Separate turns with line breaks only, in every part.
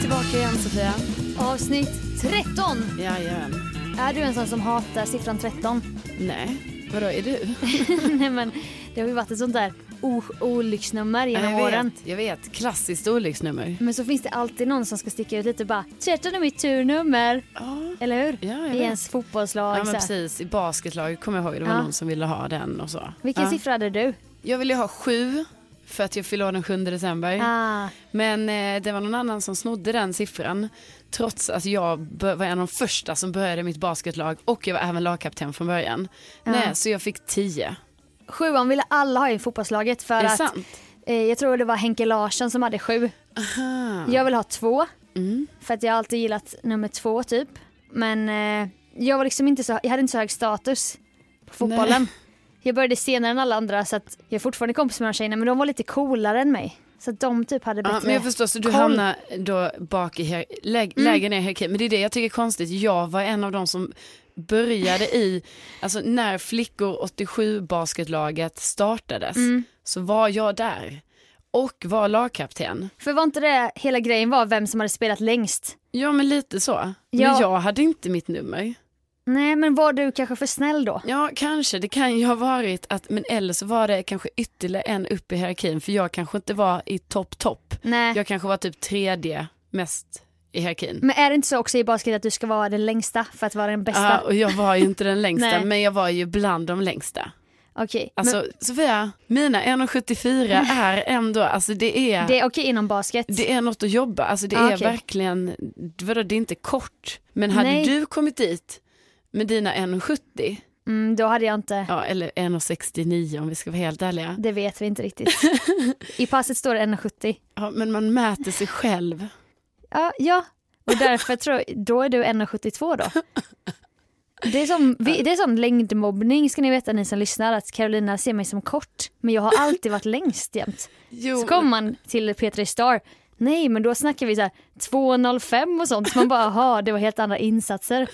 tillbaka igen Sofia.
Avsnitt 13.
Jajamän.
Är du en sån som hatar siffran 13?
Nej, vadå är du?
Nej men det har ju varit ett sånt där o- olycksnummer genom
jag
åren.
vet, jag vet. Klassiskt olycksnummer.
Men så finns det alltid någon som ska sticka ut lite bara 13 är mitt turnummer.
Ja,
Eller hur?
Ja, jag
I
vet.
ens fotbollslag.
ja men
så här.
precis. I basketlaget kommer jag ihåg det var
Ja.
någon som ville ha den och så.
Vilken
ja.
siffra hade du?
Jag ville ha sju för att jag fyllde år den 7 december.
Ah,
Men eh, det var någon annan som snodde den siffran. Trots att jag bör- var en av de första som började mitt basketlag och jag var även lagkapten från början. Nej, så jag fick tio.
sjuan ville alla ha i fotbollslaget för
Är det
att
sant?
eh, jag tror det var Henke Larsson som hade sju. Jag vill ha två.
Mm.
För att jag har alltid gillat nummer två typ. Men eh, jag var liksom inte så, jag hade inte så hög status på fotbollen. Jag började senare än alla andra så att jag är fortfarande kompis med de tjejerna men de var lite coolare än mig. Så att de typ hade bättre. Mm.
Ja, men jag förstår, så du
koll.
hamnar då bak i här, lä, lägre ner i hierarkin. Men det är det jag tycker är konstigt. Jag var en av de som började i, alltså när flickor 87 basketlaget startades
Mm.
så var jag där och var lagkapten.
För var inte det hela grejen var vem som hade spelat längst?
Ja men lite så. Men
Ja.
jag hade inte mitt nummer.
Nej men var du kanske för snäll då?
Ja kanske, det kan ju ha varit att, men eller så var det kanske ytterligare en upp i hierarkin för jag kanske inte var i topp topp.
Nej.
Jag kanske var typ tredje mest i hierarkin.
Men är det inte så också i basket att du ska vara den längsta för att vara den bästa?
Ja, och jag var ju inte den längsta,
Nej.
men jag var ju bland de längsta.
Okej.
Alltså Sofia, mina 1,74 är ändå, alltså det är,
men
det...
det är okej inom basket.
är något att jobba, alltså det
Ja,
är
okej.
verkligen, vadå det är inte kort, men hade
Nej.
du kommit dit med dina 1,70,
Mm, då hade jag inte,
ja eller 1,69 om vi ska vara helt ärliga,
det vet vi inte riktigt. I passet står det 1,70.
ja, men man mäter sig själv.
Ja, ja. och därför tror jag, då är du 1,72 då. Det är, som, vi, det är som längdmobbning ska ni veta ni som lyssnar att Carolina ser mig som kort men jag har alltid varit längst jämt.
Jo,
Så kommer man till Petra Star. Nej men då snackar vi så här 2,05 och sånt. Så man bara ha det var helt andra insatser.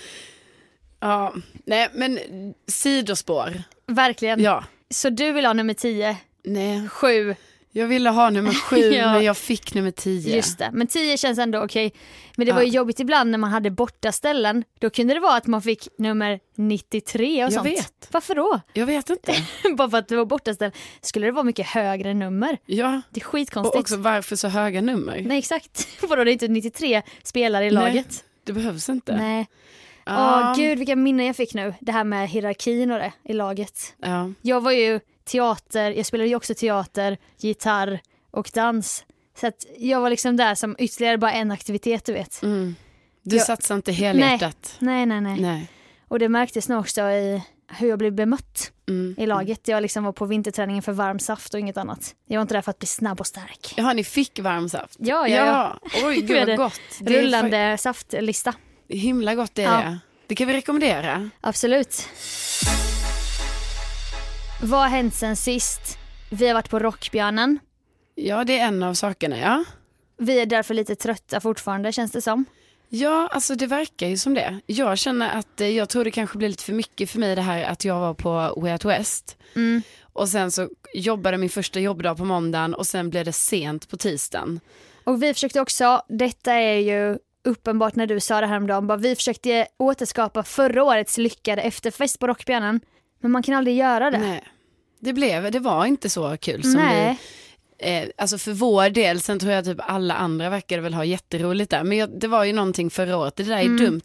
ja, nej men sidospår,
Mm. Verkligen.
ja,
Så du vill ha nummer 10,
nej,
7,
jag ville ha nummer sju
Ja.
men jag fick nummer tio.
just det. Men 10 känns ändå okej. Men det var
Ja.
ju jobbigt ibland när man hade borta ställen. Då kunde det vara att man fick nummer 93 och
Jag
sånt.
vet.
Varför då?
Jag vet inte.
Bara för att det var bortaställ. Skulle det vara mycket högre nummer?
Ja,
Det är
och
skitkonstigt.
också varför så höga nummer?
Nej exakt. Vadå det är inte 93 spelare i laget?
Det behövs inte.
Nej. Ah. Åh
Ja,
gud vilka minnen jag fick nu. Det här med hierarkin och det i laget.
Ja.
Jag var ju teater, jag spelade ju också teater, gitarr och dans. Så att jag var liksom där som ytterligare bara en aktivitet du vet.
Mm. Du
Jag-
satsar inte helhjärtat.
Nej nej nej.
Nej.
Och det märktes nog också i hur jag blev bemött
Mm.
i laget. Jag liksom var på vinterträningen för varm saft och inget annat. Jag var inte där för att bli snabb och stark.
Jaha, ni fick varm saft?
Ja, ja, ja.
Oj,
Vi
gud
hade
vad gott. Det är
Rullande saftlista.
fa- himla gott det är
Ja.
det. Det kan vi rekommendera.
Absolut. Vad har hänt sen sist? Vi har varit på Rockbjörnen.
Ja, det är en av sakerna, ja.
Vi är därför lite trötta fortfarande känns det som.
Ja, alltså det verkar ju som det. Jag känner att eh, jag tror det kanske blir lite för mycket för mig det här att jag var på Way Out West.
Mm.
Och sen så jobbade min första jobbdag på måndagen och sen blev det sent på tisdagen.
Och vi försökte också, detta är ju uppenbart när du sa det häromdagen, bara vi försökte återskapa förra årets lyckade efterfest på Rockbjörnen. Men man kan aldrig göra det.
Nej. Det, blev, det var inte så kul som vi
Nej.
eh, alltså för vår del, sen tror jag typ alla andra verkade väl ha jätteroligt där. Men jag, det var ju någonting förra året, det där är
Mm.
dumt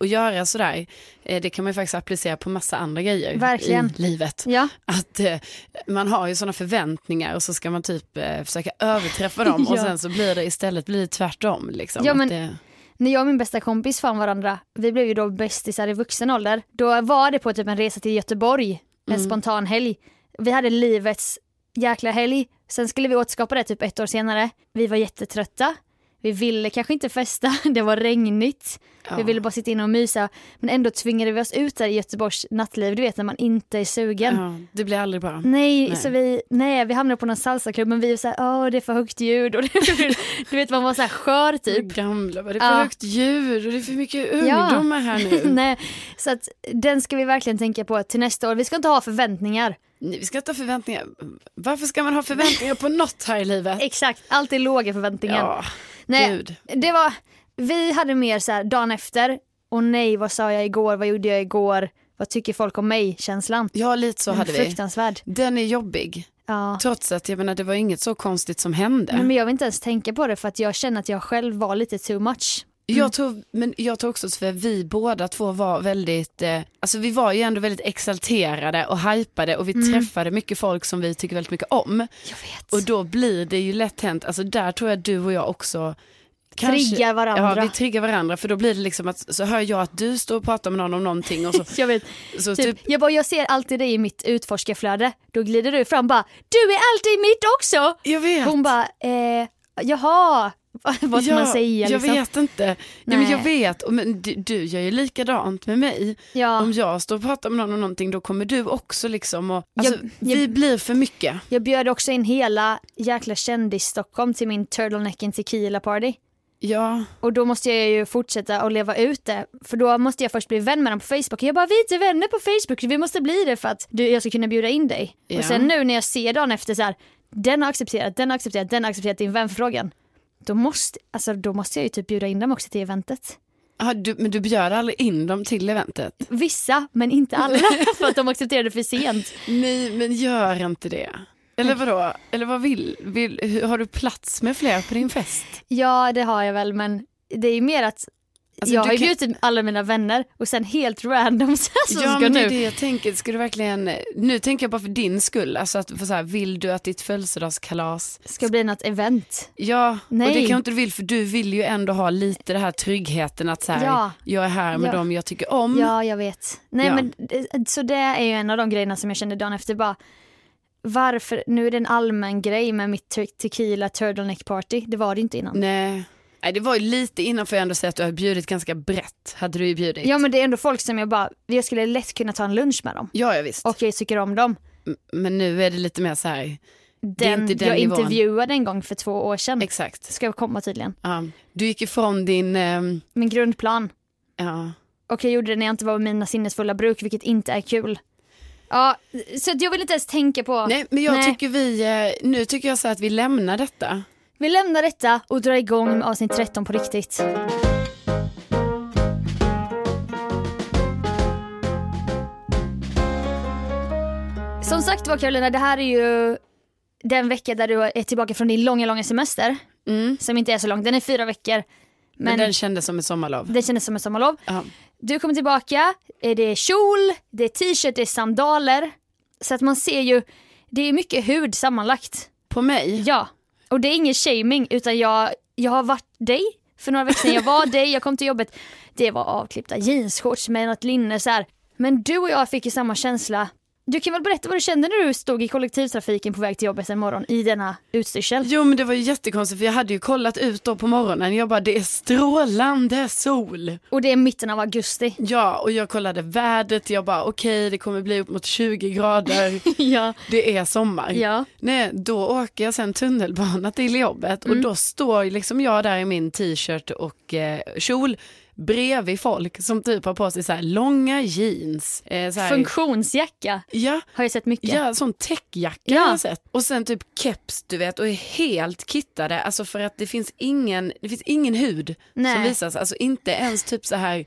att göra sådär. Eh, det kan man ju faktiskt applicera på massa andra grejer
Verkligen.
i livet.
Ja,
Att eh, man har ju sådana förväntningar och så ska man typ eh, försöka överträffa dem och
Ja.
sen så blir det istället blir det tvärtom. Liksom.
Ja,
Att
men-
det,
när jag och min bästa kompis fann varandra, vi blev ju då bästisar i vuxen ålder. Då var det på typ en resa till Göteborg, en
Mm.
spontan helg. Vi hade livets jäkla helg. Sen skulle vi återskapa det typ ett år senare. Vi var jättetrötta. Vi ville kanske inte festa, det var regnigt.
ja.
Vi ville bara sitta inne och mysa. Men ändå tvingade vi oss ut där i Göteborgs nattliv, du vet när man inte är sugen.
ja, det blir aldrig bra.
Nej,
Nej.
så vi, nej, vi hamnade på någon salsaklubb men vi var såhär, åh det är för högt ljud och du vet man var såhär skör typ.
Gamla, vad det är för
Ja.
högt djur och det är för mycket
Ja.
ungdomar här nu.
Nej, så att den ska vi verkligen tänka på till nästa år. Vi ska inte ha förväntningar.
Nej, Vi ska inte ha förväntningar. Varför ska man ha förväntningar på något här i livet?
Exakt, alltid låga förväntningar.
Ja,
Nej,
gud.
det var... Vi hade mer så här dagen efter, och nej vad sa jag igår, vad gjorde jag igår, vad tycker folk om mig känslan.
Ja, lite så
Den är
hade vi.
Fruktansvärd.
Den är jobbig.
Ja.
Trots att jag menar, det var inget så konstigt som hände.
Nej, men jag vill inte ens tänka på det för att jag känner att jag själv var lite too much.
Jag tror, men jag tror också att vi båda två var väldigt, eh, alltså vi var ju ändå väldigt exalterade och hypade och vi
Mm.
träffade mycket folk som vi tycker väldigt mycket om.
Jag vet.
Och då blir det ju lätt hänt, alltså där tror jag du och jag också
Triggar varandra.
Ja, vi triggar varandra för då blir det liksom att så hör jag att du står och pratar med någon om någonting och så,
jag vet.
så
Typ,
typ,
jag, bara, jag ser alltid dig i mitt utforskarflöde. Då glider du fram bara, du är alltid i mitt också!
jag vet.
Hon bara, eh, jaha, vad ska man säga
Jag
liksom?
vet inte. Ja, men
Nej.
jag vet, Och men du, du gör ju likadant med mig.
Ja,
Om jag står och pratar med någon om någonting då kommer du också liksom och,
Jag-
alltså,
jag-
vi blir för mycket.
jag bjöd också in hela jäkla kändis-Stockholm till min turtleneck and tequila party.
Ja,
Och då måste jag ju fortsätta att leva ut det. För då måste jag först bli vän med dem på Facebook. Jag bara, vi är inte vänner på Facebook, vi måste bli det för att du, jag ska kunna bjuda in dig.
Ja.
Och sen nu när jag ser dagen efter så här, den har accepterat, den har accepterat, den har accepterat din vänförfrågan. Då måste, alltså, då måste jag ju typ bjuda in dem också till eventet.
ah, du, men du bjöd aldrig in dem till eventet?
Vissa, men inte alla, för att de accepterade för sent.
Nej, men gör inte det. Eller vadå? Eller vad vill, vill hur, har du plats med fler på din fest?
Ja, det har jag väl, men det är ju mer att
Alltså,
jag
du
har ju
kan-
bjudit alla mina vänner och sen helt random så här som
ja,
ska
men det
nu.
är det jag tänker. Ska du verkligen, nu tänker jag bara för din skull, alltså att, för så här, vill du att ditt födelsedagskalas,
Ska bli något event.
ja, och
Nej.
det kanske inte du vill för du vill ju ändå ha lite det här tryggheten att så här,
Ja.
jag är här med
Ja.
dem jag tycker om.
Ja, jag vet. Nej,
Mm. Ja.
men det- så det är ju en av de grejerna som jag kände dagen efter bara varför, nu är det en allmän grej med mitt te- tequila turtleneck party, det var det inte innan.
Nej. Nej, det var ju lite innan får jag ändå säga att du har bjudit ganska brett, hade du ju bjudit.
Ja men det är ändå folk som jag bara, jag skulle lätt kunna ta en lunch med dem
Ja, ja visst.
och Mm. jag tycker om dem.
Men nu är det lite mer så här, det är
Den,
inte den
jag
nivån.
intervjuade en gång för två år sedan,
Exakt.
ska jag komma tydligen,
Ja. Du gick ifrån din, ehm,
min grundplan.
ja.
Och jag gjorde det när jag inte var med mina sinnesfulla bruk, vilket inte är kul. Ja, så att jag vill inte ens tänka på.
Nej men jag
Nej.
tycker vi, eh, nu tycker jag så här att vi lämnar detta.
Vi lämnar detta och drar igång med avsnitt 13 på riktigt. Som sagt var Karolina, det här är ju den vecka där du är tillbaka från din långa, långa semester.
Mm.
Som inte är så lång, den är fyra veckor.
Men,
Men,
den kändes som ett sommarlov.
den kändes som ett sommarlov.
Ja.
Du kommer tillbaka, eh, det är kjol, det är t-shirt, det är sandaler. Så att man ser ju, det är mycket hud sammanlagt.
På mig?
Ja, och det är ingen shaming utan jag, jag har varit dig för några veckor sedan. Jag var dig, jag kom till jobbet. Det var avklippta jeansshorts med något linne så här. Men du och jag fick ju samma känsla. Du kan väl berätta vad du kände när du stod i kollektivtrafiken på väg till jobbet en morgon i denna utstyrsel?
Jo men det var ju jättekonstigt för jag hade ju kollat ut då på morgonen. Jag bara det är strålande sol.
Och det är mitten av augusti.
Ja och jag kollade vädret. Jag bara okej det kommer bli upp mot 20 grader.
Ja.
Det är sommar.
Ja.
Nej, då åker jag sen tunnelbana till jobbet
Mm.
och då står ju liksom jag där i min t-shirt och eh, kjol bredvid folk som typ har på sig så här långa jeans. Eh, så här,
Funktionsjacka
ja,
har jag sett mycket.
ja, sån täckjacka
Ja.
har jag sett. Och sen typ keps du vet och är helt kittade. Alltså för att det finns ingen, det finns ingen hud som
Nej.
visas. Alltså inte ens typ så här.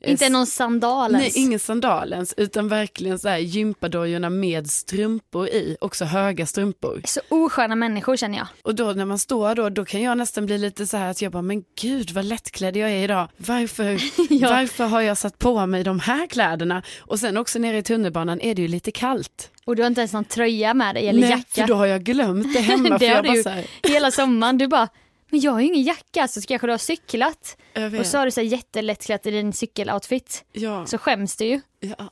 eh,
Inte någon sandal
Nej,
ens.
ingen sandal ens, utan verkligen så här gympadojorna med strumpor i, också höga strumpor.
Så osköna människor känner jag.
Och då när man står då, då kan jag nästan bli lite så här att jag bara, men gud vad lättklädd jag är idag. Varför,
Ja.
varför har jag satt på mig de här kläderna? Och sen också nere i tunnelbanan är det ju lite kallt.
Och du har inte ens någon tröja med dig eller jacka.
för då har jag glömt det hemma.
det
för
har
jag
du
bara
ju
så här,
hela sommaren. Du bara, men jag har ju ingen jacka så ska jag kanske ha cyklat.
jag vet.
Och så har du så här jättelättklätt i din cykeloutfit.
ja,
Så skäms du ju.
ja.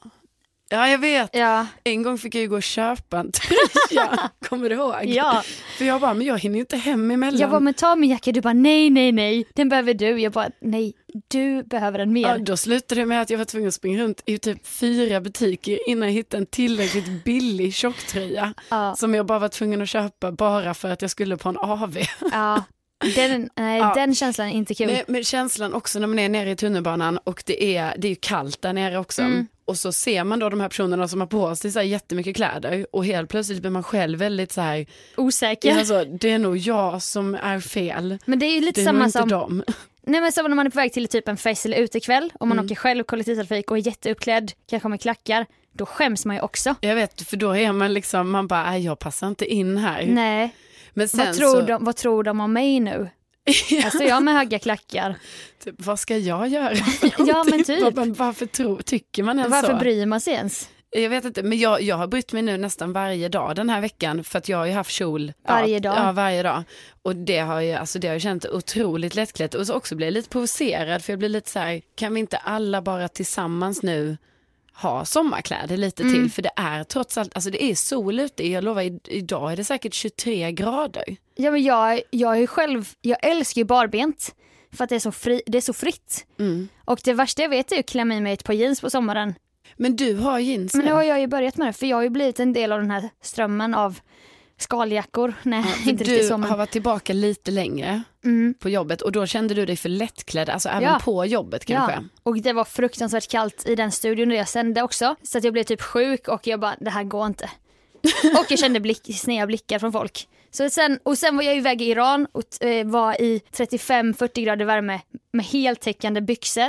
ja, jag vet.
Ja.
En gång fick jag ju gå och köpa en tröja, kommer du ihåg?
ja.
För jag bara, men jag hinner ju inte hem emellan.
Jag bara, men ta min jacka. Du bara, nej, nej, nej. Den behöver du. Jag bara, nej, du behöver den
Ja,
mer.
då slutade det med att jag var tvungen att springa runt i typ fyra butiker innan jag hittade en tillräckligt billig tjocktröja
Ja.
som jag bara var tvungen att köpa bara för att jag skulle på en AV.
ja. Den, nej,
Ja.
den känslan är inte kul.
Men, men känslan också när man är nere i tunnelbanan och det är, det är ju kallt där nere också.
Mm.
Och så ser man då de här personerna som har på sig så här jättemycket kläder och helt plötsligt blir man själv väldigt så här,
Osäker.
alltså, det är nog jag som är fel.
Men det är ju lite
Det är nog
samma
inte
som,
dem.
Nej men som när man är på väg till typ en fest eller utekväll och
Mm.
man åker själv kollektivtrafik och är jätteuppklädd, kanske med klackar, då skäms man ju också.
Jag vet, för då är man liksom, man bara, "Nej, jag passar inte in här.
Nej,
Men sen
vad
så,
tror, de, vad tror de om mig nu? Här står jag med höga klackar.
typ, vad ska jag göra?
Ja, men
Vad-
typ.
men Varför tror, tycker man ens
Varför
så?
bryr man sig ens?
Jag vet inte, men jag, jag har brytt mig nu nästan varje dag den här veckan för att jag har ju haft kjol.
Varje
ja,
dag?
Ja, varje dag. Och det har ju, alltså det har ju känt otroligt lättklätt och så också blir jag lite provocerad för jag blir lite så här, kan vi inte alla bara tillsammans nu ha sommarkläder lite
Mm.
till? För det är trots allt, alltså det är sol ute, jag lovar i- idag är det säkert 23 grader.
Ja men jag, jag är ju själv, jag älskar ju barbent för att det är så, fri, det är så fritt.
Mm.
Och det värsta jag vet är ju att klämma i mig ett par jeans på sommaren.
Men du har jeans
Men nu
nu.
har jag ju börjat med det för jag har ju blivit en del av den här strömmen av skaljackor. Nej,
För
inte
du
riktigt så men.
har varit tillbaka lite längre
Mm.
på jobbet och då kände du dig för lättklädd, alltså även
Ja.
på jobbet kanske.
Ja, och det var fruktansvärt kallt i den studion där jag sände också. Så att jag blev typ sjuk och jag bara, det här går inte. Och jag kände blick, sneda blickar från folk. Så sen, och sen var jag iväg i Iran och eh, var i 35-40 grader värme med heltäckande byxor,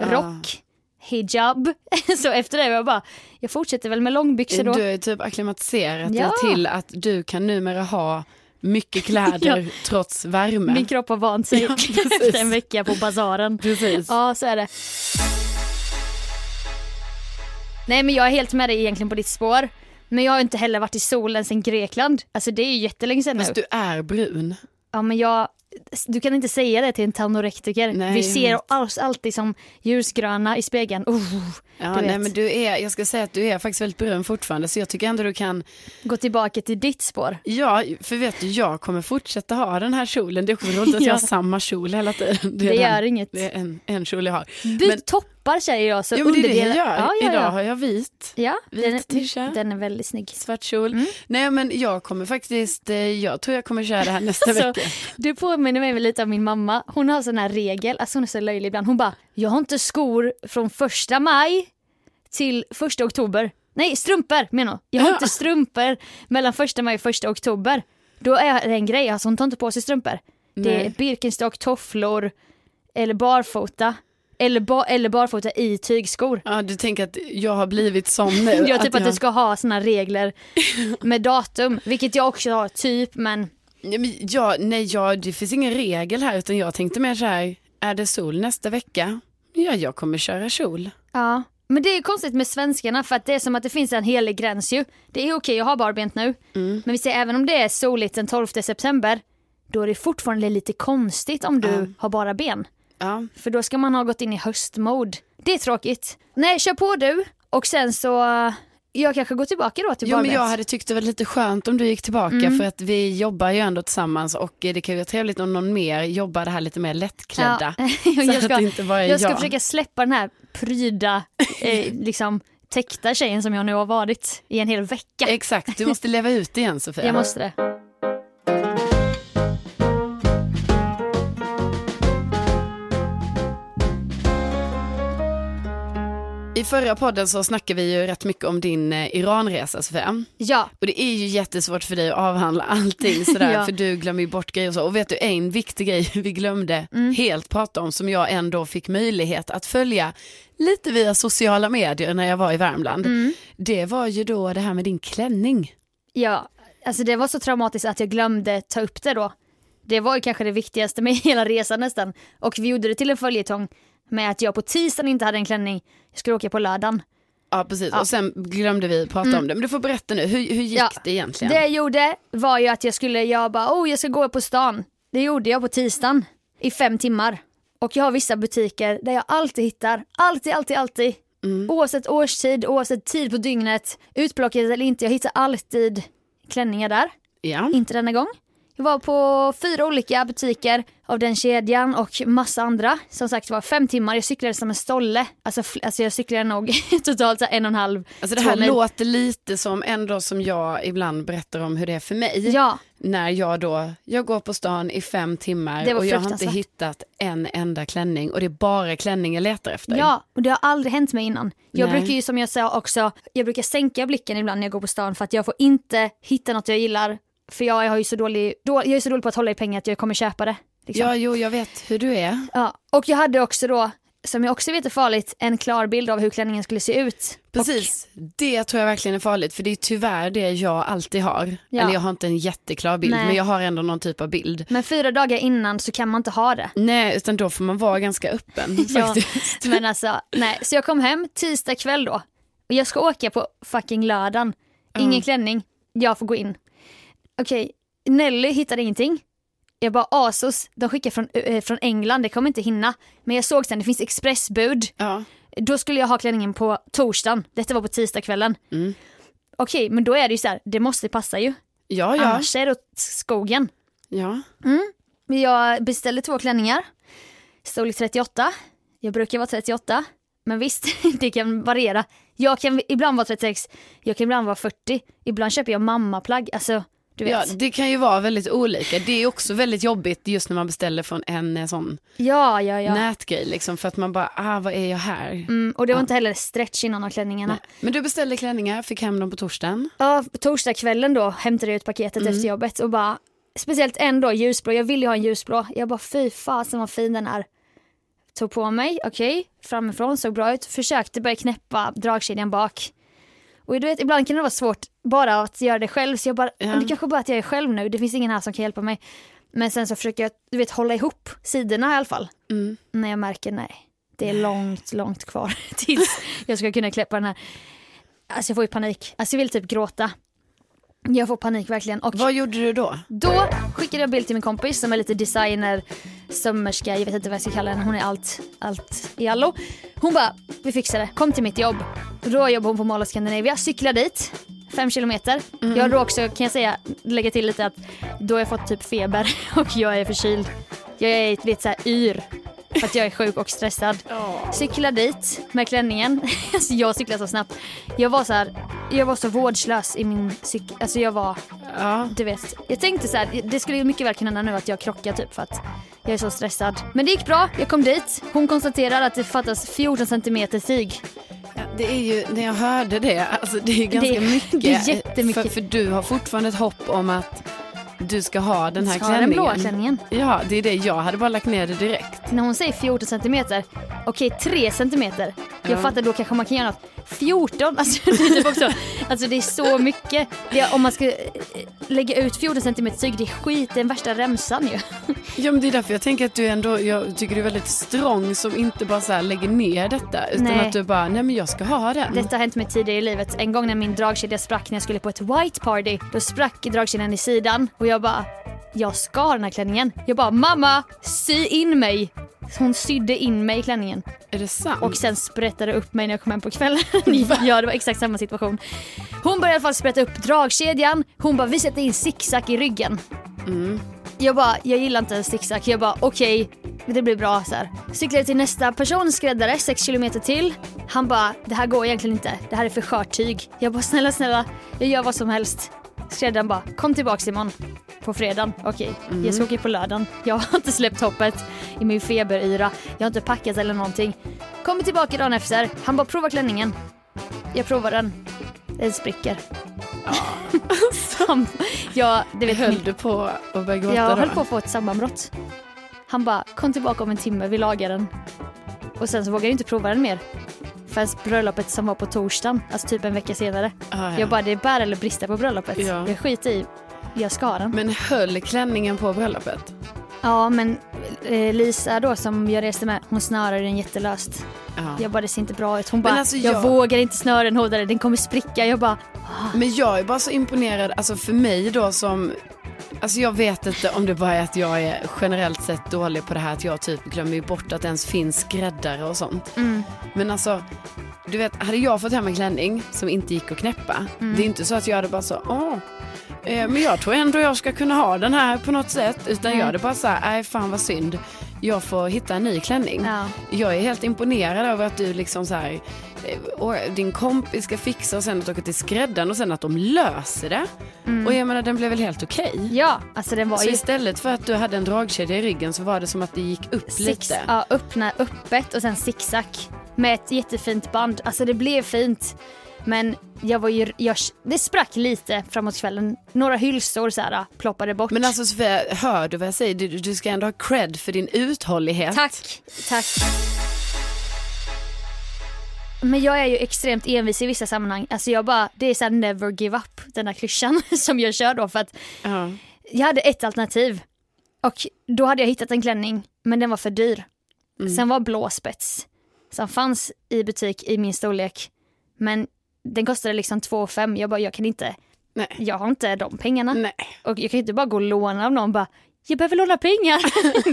Ah.
rock, hijab. Så efter det var jag bara, jag fortsätter väl med långbyxor då.
Du har ju typ acklimatiserat
Ja.
dig till att du kan numera ha mycket kläder trots värme.
Min kropp har vant sig
Ja, precis.
efter en vecka på basaren.
Precis.
Ja, så är det. Nej, men jag är helt med dig egentligen på ditt spår. Men jag har inte heller varit i solen sedan Grekland. Alltså det är ju jättelänge sedan nu.
Fast du är brun.
Ja, men jag... Du kan inte säga det till en tanorektiker.
Nej,
Vi
jag
ser oss alltid som ljusgröna i spegeln. Oh,
Ja,
Du vet.
nej, men du är, jag ska säga att du är faktiskt väldigt brun fortfarande så jag tycker ändå du kan,
gå tillbaka till ditt spår.
ja för vet du jag kommer fortsätta ha den här kjolen, det är roligt att
Ja.
jag har samma kjol hela tiden.
Det
den.
gör inget.
Det är en, en kjol jag har.
Byt
Men-
toppar säger jag. Så
Jo men det är det
underdelar-
jag gör,
Ja, ja,
idag
ja.
har jag vit.
ja den,
vit t-shirt.
är, Mm. den är väldigt snygg.
Svart kjol. Nej men jag kommer faktiskt, eh, jag tror jag kommer köra det här nästa
Alltså,
vecka.
du påminner mig lite om min mamma. Hon har sån här regel, alltså hon är så löjlig ibland. Hon bara, jag har inte skor från första maj till första oktober. Nej, strumpor menar hon. Jag har inte strumpor mellan första maj och första oktober. Då är det en grej, alltså hon tar inte på sig strumpor. Det är
Nej.
Birkenstock, tofflor eller barfota. Eller, ba- eller barfota i tygskor.
Ja du tänker att jag har blivit sån nu.
Jag typ att
jag-
du ska ha såna regler med datum, vilket jag också har typ men
Nej, men ja, nej ja, det finns ingen regel här utan jag tänkte mer så här, är det sol nästa vecka? Ja, jag kommer köra kjol.
Ja, men det är konstigt med svenskarna för att det är som att det finns en helig gräns ju. Det är okej, jag har barbent nu.
Mm.
Men vi säger även om det är soligt den 12 september, då är det fortfarande lite konstigt om du har bara ben.
Ja.
För då ska man ha gått in i höstmode. Det är tråkigt. Nej, kör på du och sen så, jag kanske går tillbaka då till
Jo, men
barbent.
jag hade tyckt det var lite skönt om du gick tillbaka
Mm.
för att vi jobbar ju ändå tillsammans och eh, det kan ju vara trevligt om någon mer jobbar det här lite mer lättklädda.
Ja.
Så
jag,
att
ska,
det inte bara är
jag ska
jag.
försöka släppa den här pryda, eh, liksom täckta tjejen som jag nu har varit i en hel vecka.
Eh, Exakt, du måste leva ut igen Sofia.
Jag måste det.
I förra podden så snackade vi ju rätt mycket om din eh, Iranresa Sofia.
Ja,
Och det är ju jättesvårt för dig att avhandla allting sådär,
Ja.
för du glömmer ju bort grejer och så. Och vet du, en viktig grej vi glömde helt prata om, som jag ändå fick möjlighet att följa lite via sociala medier när jag var i Värmland. Det var ju då det här med din klänning.
Ja, alltså det var så traumatiskt att jag glömde ta upp det då. Det var ju kanske det viktigaste med hela resan nästan. Och vi gjorde det till en följetong med att jag på tisdagen inte hade en klänning. Jag skulle åka på lördagen.
Ja, precis. Och sen glömde vi prata om det. Men du får berätta nu, hur, hur gick
Ja,
det egentligen?
Det jag gjorde var ju att jag skulle, jag bara, oh jag ska gå på stan. Det gjorde jag på tisdagen i fem timmar. Och jag har vissa butiker där jag alltid hittar, alltid, alltid, alltid. Oavsett årstid, oavsett tid på dygnet, utplockat eller inte, jag hittar alltid klänningar där.
Ja.
Inte denna gång. Jag var på fyra olika butiker av den kedjan och massa andra. Som sagt det var fem timmar, jag cyklade som en stolle. Alltså, fl- alltså jag cyklade nog totalt så här en och en halv,
Alltså det
två
här
mil.
låter lite som ändå som jag ibland berättar om hur det är för mig.
Ja,
när jag då, jag går på stan i fem
Det
timmar
var
och jag har inte
fruktansvärt.
hittat en enda klänning och det är bara klänning jag letar efter.
ja, och det har aldrig hänt mig innan. Jag
Nej.
brukar ju som jag sa också, jag brukar sänka blicken ibland när jag går på stan för att jag får inte hitta något jag gillar. För jag, har ju så dålig, då, jag är så dålig på att hålla i pengar att jag kommer köpa det. Liksom.
Ja, jo, jag vet hur du är.
Ja, och jag hade också då, som jag också vet är farligt, en klar bild av hur klänningen skulle se ut.
Precis, det tror jag verkligen är farligt för det är tyvärr det jag alltid har.
Ja.
Eller jag har inte en jätteklar bild
Nej.
men jag har ändå någon typ av bild.
Men fyra dagar innan så kan man inte ha det.
Nej, utan då får man vara ganska öppen
Ja.
faktiskt.
Men alltså, nej. Så jag kom hem tisdag kväll då. Och jag ska åka på fucking lördagen. Ingen
Mm.
klänning. Jag får gå in. Okej, Nelly hittade ingenting. Jag bara Asos, de skickar från, eh, från England, det kommer inte hinna. Men jag såg sen, det finns expressbud.
Ja.
Då skulle jag ha klänningen på torsdagen. Detta var på tisdagskvällen.
Mm.
Okej, men då är det ju så här, det måste passa ju.
Ja, ja,
Annars är det åt skogen.
ja.
Men Jag beställde två klänningar. Storlek 38. Jag brukar vara 38. Men visst, det kan variera. Jag kan ibland vara 36, jag kan ibland vara 40. Ibland köper jag mammaplagg. Alltså, du
ja.
vet.
Det kan ju vara väldigt olika. Det är också väldigt jobbigt just när man beställer från en eh, sån
Ja, ja, ja.
nätgrej liksom för att man bara, ah vad är jag här?
Mm, och det var inte heller stretch innan av klänningarna.
Nej. Men du beställde klänningar, fick hem dem på torsdagen.
Ja, på torsdagskvällen då hämtade jag ut paketet efter jobbet och bara, speciellt en då, ljusblå, jag vill ju ha en ljusblå. Jag bara fy fasen vad fin den är. Tog på mig, okej, framifrån, såg bra ut, försökte börja knäppa dragkedjan bak. Och du vet, ibland kan det vara svårt bara att göra det själv, så jag bara,
Ja.
det kanske bara att jag är själv nu, det finns ingen här som kan hjälpa mig. Men sen så försöker jag, du vet, hålla ihop sidorna i alla fall.
Mm.
När jag märker, nej, det är långt, långt kvar tills jag ska kunna kläppa den här. Alltså jag får ju panik. Alltså jag vill typ gråta. Jag får panik verkligen. Och
Vad gjorde du då?
då skickade jag bild till min kompis som är lite designer, sömmerska, jag vet inte vad jag ska kalla henne. Hon är allt, allt i allo. Hon bara, vi fixar det. Kom till mitt jobb. Då jobbar hon på Mall of Scandinavia, cyklar dit. Fem kilometer. Jag har då också, kan jag säga, lägga till lite att då har jag fått typ feber och jag är förkyld. Jag är lite så här yr för att jag är sjuk och stressad. Cyklar dit med klänningen. Alltså jag cyklar så snabbt. Jag var så här, jag var så vårdslös i min cykel. Alltså jag var
Ja.
du vet, jag tänkte så här, det skulle ju mycket väl kunna hända nu att jag krockar typ för att jag är så stressad. Men det gick bra, jag kom dit. Hon konstaterar att det fattas 14 centimeter tyg.
Det är ju, när jag hörde det, alltså det är ju ganska
Det-
mycket.
det är jättemycket.
För, för du har fortfarande ett hopp om att du ska ha den här
Ska ha den
klänningen.
blåa klänningen.
Ja, det är det. Jag hade bara lagt ner det direkt.
När hon säger 14 centimeter, okej 3 centimeter. Jag
Ja.
fattar då kanske man kan göra något. 14, alltså det är typ också, alltså det är så mycket. Det är, om man ska eh, lägga ut 14 centimeter tyg, det är skit, det är den värsta remsan ju.
Ja, men det är därför jag tänker att du ändå, jag tycker du är väldigt strong som inte bara så här lägger ner detta. Utan
Nej.
att du bara, nej men jag ska ha den.
Detta har hänt mig tidigare i livet. En gång när min dragkedja sprack när jag skulle på ett white party. Då sprack dragkedjan i sidan och jag bara, jag ska ha den här klänningen. Jag bara, mamma, sy in mig. Hon sydde in mig i klänningen
Är det sant?
och sen sprättade upp mig när jag kom hem på kvällen. ja, det var exakt samma situation. Hon började i alla fall sprätta upp dragkedjan. Hon bara, vi sätter in zigzag i ryggen. Jag bara, jag gillar inte en zigzag. Jag bara, okej, det blir bra så här. Cyklade till nästa person, skräddare, 6 kilometer till. Han bara, det här går egentligen inte. Det här är för skört tyg. Jag bara, snälla, snälla, jag gör vad som helst. Skräddaren bara, kom tillbaks imorgon. På fredagen, okej. Jag ska åka på lördagen. Jag har inte släppt hoppet i min feberyra. Jag har inte packat eller någonting. Kommer tillbaka dagen efter. Han bara, prova klänningen. Jag provar den. Den spricker. Ja. jag, det vet min
Höll du på att börja gråta
jag
då?
höll på att få ett sammanbrott. Han bara, kom tillbaka om en timme, vi lagar den. Och sen så vågade jag inte prova den mer. Förrän bröllopet som var på torsdagen, alltså typ en vecka senare.
Ah, ja.
Jag bara, det är bär eller brister på bröllopet.
Ja.
Jag skiter i, jag ska ha den.
Men höll klänningen på bröllopet?
Ja men eh, Lisa då som jag reste med, hon snörade den jättelöst.
Ja.
Jag bara, det ser inte bra ut. Hon
Men
bara,
alltså,
jag...
jag-
vågar inte snöra den hårdare, den kommer spricka. Jag bara,
Men jag är bara så imponerad, alltså för mig då som, alltså jag vet inte om det bara är att jag är generellt sett dålig på det här att jag typ glömmer ju bort att det ens finns skräddare och sånt. Men alltså, du vet, hade jag fått hem en klänning som inte gick att knäppa, det är inte så att jag hade bara så, åh, eh, men jag tror ändå jag ska kunna ha den här på något sätt, utan jag hade bara så här, nej fan vad synd, jag får hitta en ny klänning.
Ja.
Jag är helt imponerad över att du liksom så här, eh, och din kompis ska fixa och sen att åka till skräddaren och sen att de löser det. Och jag menar den blev väl helt okej.
Mm. ja, alltså den var
Så
ju
istället för att du hade en dragkedja i ryggen så var det som att det gick upp
Six,
lite.
ja, öppna öppet och sen zigzag med ett jättefint band. Alltså det blev fint. Men jag var ju, jag, det sprack lite framåt kvällen. Några hylsor så här, ploppade bort.
Men alltså Sofia, hör du vad jag säger? Du, du ska ändå ha cred för din uthållighet.
Tack, tack. Men jag är ju extremt envis i vissa sammanhang. Alltså jag bara, det är såhär never give up, den där klyschan som jag kör då för att
Ja.
jag hade ett alternativ. Och då hade jag hittat en klänning, men den var för dyr. Sen var blå spets, som fanns i butik i min storlek. Men den kostade liksom 2 5. Jag bara, jag kan inte,
Nej.
jag har inte de pengarna.
Nej.
Och jag kan inte bara gå och låna av någon bara jag behöver låna pengar.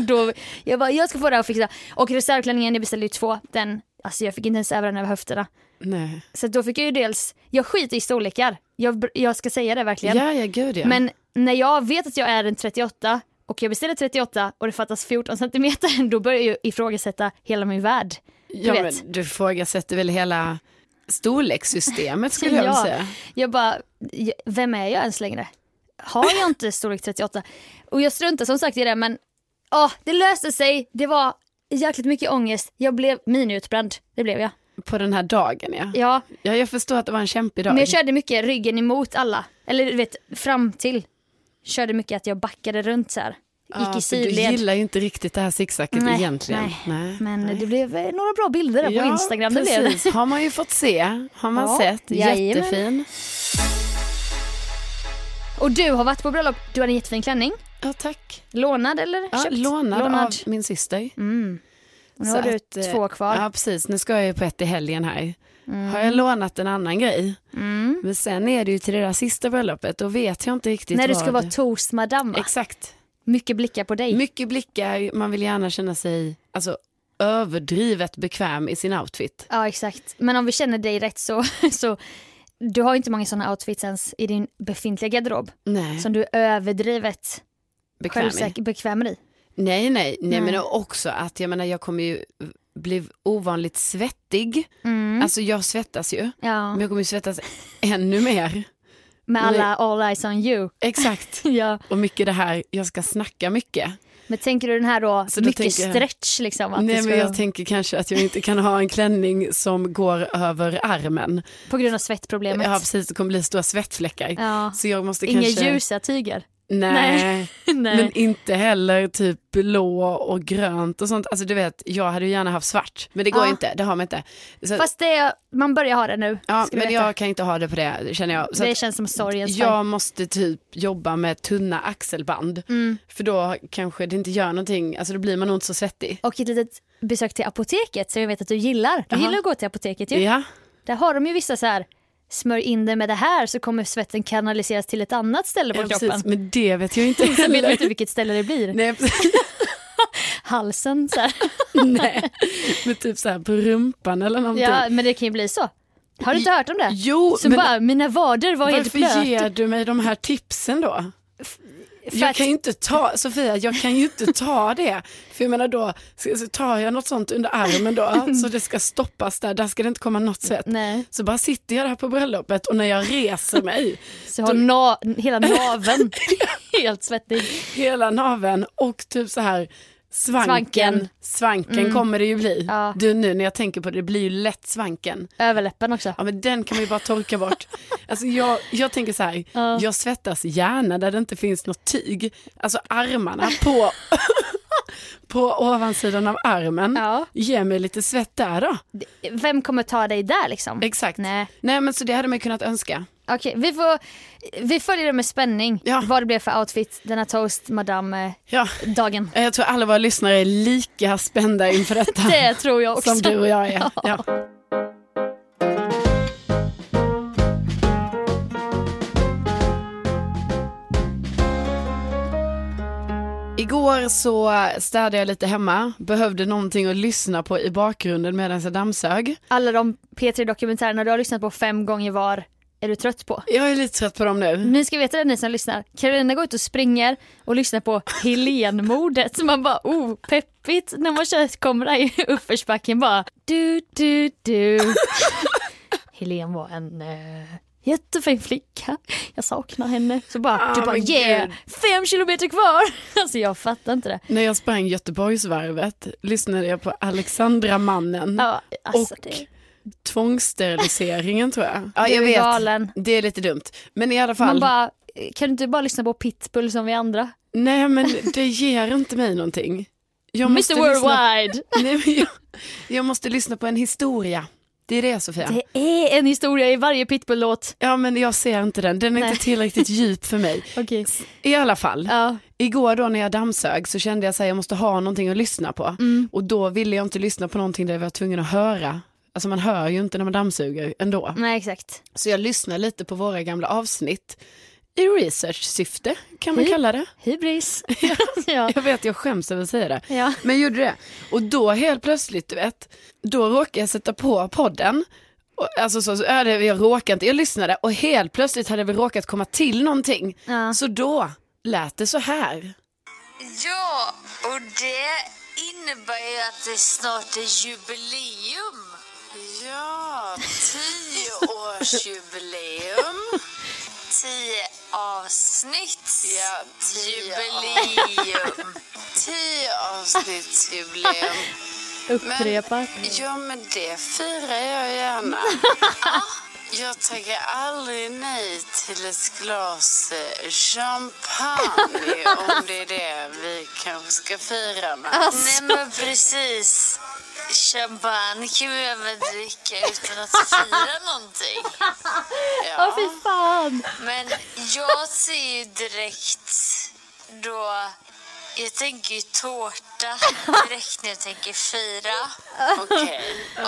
då, jag bara, jag ska få det här och fixa. Och reservklänningen, jag beställde ju två. Den, alltså jag fick inte ens över den över höfterna.
Nej.
Så då fick jag ju dels, jag skiter i storlekar. Jag, br- jag ska säga det verkligen.
Ja, ja gud ja.
Men när jag vet att jag är en 38 och jag beställer 38 och det fattas 14 centimeter, då börjar jag ju ifrågasätta hela min värld.
ja,
du
du,
vet.
men, du ifrågasätter väl hela storlekssystemet skulle jag
Ja.
vilja säga.
Jag bara, "J- vem är jag ens längre? Har jag inte storlek 38? Och jag struntar som sagt i det men åh, det löste sig. Det var jäkligt mycket ångest. Jag blev miniutbränd. Det blev jag.
På den här dagen ja.
Ja,
ja. Jag förstår att det var en kämpig dag.
men jag körde mycket ryggen emot alla. Eller du vet, fram till. Körde mycket att jag backade runt så här. Gick
Ja,
i
för Du
sidled.
gillar ju inte riktigt det här zigzacket
Nej,
egentligen.
nej. Men det blev eh, några bra bilder där på Instagram. Det blev det.
precis. har man ju fått se. Har man
Ja,
sett.
jajamän.
Jättefin.
Och du har varit på bröllop. Du hade en jättefin klänning.
Ja, tack.
Lånad eller
Ja,
köpt?
lånad, av min syster.
Mm. Och nu
Så
har du
att, eh,
två kvar.
Ja, precis. Nu ska jag ju på ett i helgen här. Har jag lånat en annan grej?
Mm.
Men sen är det ju till det där sista bröllopet. Då vet jag inte riktigt
När du
vad-
ska vara toastmadam va?
Exakt.
Mycket blickar på dig.
Mycket blickar. Man vill gärna känna sig alltså, överdrivet bekväm i sin outfit.
ja exakt. Men om vi känner dig rätt så, så du har ju inte många sådana outfits ens i din befintliga garderob
Nej,
som du är överdrivet
bekväm i.
självsäker bekväm i.
Nej, nej, nej,
Nej.
men också att jag menar jag kommer ju bli ovanligt svettig.
Mm.
Alltså jag svettas ju,
ja,
men jag kommer ju svettas ännu mer.
med alla all eyes on you.
Exakt.
ja.
Och mycket det här, jag ska snacka mycket.
Men tänker du den här då,
Så då
mycket
tänker jag-
stretch liksom? Att
nej,
du ska,
men jag tänker kanske att jag inte kan ha en klänning som går över armen.
På grund av svettproblemet?
Jag har precis, det kommer bli stora svettfläckar.
Ja.
Så jag måste
Inga
kanske...
ljusa tyger?
Nej.
Nej.
Men inte heller typ blå och grönt och sånt. Alltså du vet, jag hade ju gärna haft svart. Men det går
Ja.
ju inte, det har man inte. Så,
Fast det, man börjar ha det nu.
Eh, ja,
ska du
men
veta.
jag kan inte ha det på det känner jag. Så
det
att
känns som sorgens ja.
jag måste typ jobba med tunna axelband.
Mm.
För då kanske det inte gör någonting, alltså då blir man nog inte så svettig.
Och ett litet besök till apoteket som jag vet att du gillar. Du
Jaha.
gillar att gå till apoteket ju.
Ja,
Där har de ju vissa så här, smörj in dig med det här så kommer svetten kanaliseras till ett annat ställe på
ja
kroppen.
precis. Men det vet jag inte
Sen vet man
heller.
inte vilket ställe det blir.
Nej, precis.
Halsen så här.
nej. Men typ så här på rumpan eller någonting.
Ja, men det kan ju bli så. Har du inte hört om det?
Jo,
Så
men
bara, mina vader var helt
varför
blöt.
ger du mig de här tipsen då?
För
Jag
att,
kan ju inte ta, Sofia, jag kan ju inte ta det. För jag menar då, så så tar jag något sånt under armen då, så det ska stoppas där, där ska det inte komma något svett.
nej,
Så bara sitter jag där på bröllopet och när jag reser mig,
så har na, hela naveln helt svettig.
hela naveln och typ så här
Svanken. Mm.
svanken, svanken kommer det ju bli.
Ja.
Du nu när jag tänker på det, det blir ju lätt svanken.
Överläppen också.
Ja men den kan man ju bara torka bort. Alltså jag, jag tänker så här,
Ja.
jag svettas gärna där det inte finns något tyg. Alltså armarna på, på ovansidan av armen.
Ja.
Ge mig lite svett där då.
Vem kommer ta dig där liksom?
Exakt. Nej.
Nej.
men så det hade man ju kunnat önska.
Okej, vi, får, vi följer det med spänning.
Ja.
Vad det blev för outfit den här toast eh, madame-dagen.
Ja, Eh, jag tror alla våra lyssnare är lika spända inför detta.
Det tror jag också.
Som du och jag är. Ja. Igår så städade jag lite hemma, behövde någonting att lyssna på i bakgrunden medan jag dammsög.
Alla de P3-dokumentärerna du har lyssnat på fem gånger var är du trött på.
Jag är lite trött på dem nu.
Ni ska veta det ni som lyssnar. Karolina går ut och springer och lyssnar på Helenmordet. Så man bara oh, peppigt när man kör, kommer där i uppförsbacken bara du, du, du. Helen var en eh, jättefin flicka. Jag saknar henne. Så bara,
Ah,
du bara
men
yeah,
gud.
fem kilometer kvar. Alltså jag fattar inte det.
När jag sprang Göteborgsvarvet lyssnade jag på Alexandra Mannen
Ja, alltså
och
det.
tvångssteriliseringen tror jag. Ja,
Du
jag
är
vet.
galen.
Det är lite dumt. Men i alla
Man
fall,
bara, kan du inte bara lyssna på Pitbull som vi andra?
nej men det ger inte mig någonting. Jag måste,
Mr
lyssna,
Worldwide!
nej, men jag, jag måste lyssna på en historia. Det är det Sofia.
Det är en historia i varje Pitbull-låt.
Ja men jag ser inte den, den är
Nej.
inte tillräckligt djup för mig.
Okej.
I alla fall,
Ja.
igår då när jag dammsög så kände jag att jag måste ha någonting att lyssna på.
Mm.
Och då ville jag inte lyssna på någonting där jag var tvungen att höra. Alltså man hör ju inte när man dammsuger ändå.
Nej exakt.
Så jag lyssnar lite på våra gamla avsnitt. I research-syfte kan man
Mm.
kalla det.
Hybris. ja.
Jag vet, jag skäms över att säga det.
Ja.
Men jag gjorde det. Och då helt plötsligt, du vet, då råkade jag sätta på podden. Och, alltså så, så är det, jag råkade inte, jag lyssnade och helt plötsligt hade vi råkat komma till någonting.
Ja.
Så då lät det så här.
Ja, och det innebär ju att det snart är jubileum. Ja, tioårsjubileum. Tio avsnitt. Ja, jubileum. Tio avsnittsjubileum.
Upprepar.
Ja, men det firar jag gärna. Jag tänker aldrig nej till ett glas eh, champagne om det är det vi kanske ska fira med.
Alltså.
Nej, men precis. Champagne kan vi även dricka utan att fira någonting.
Åh fy fan.
Men jag ser ju direkt då... Jag tänker ju tårta direkt när jag tänker fira. Okej.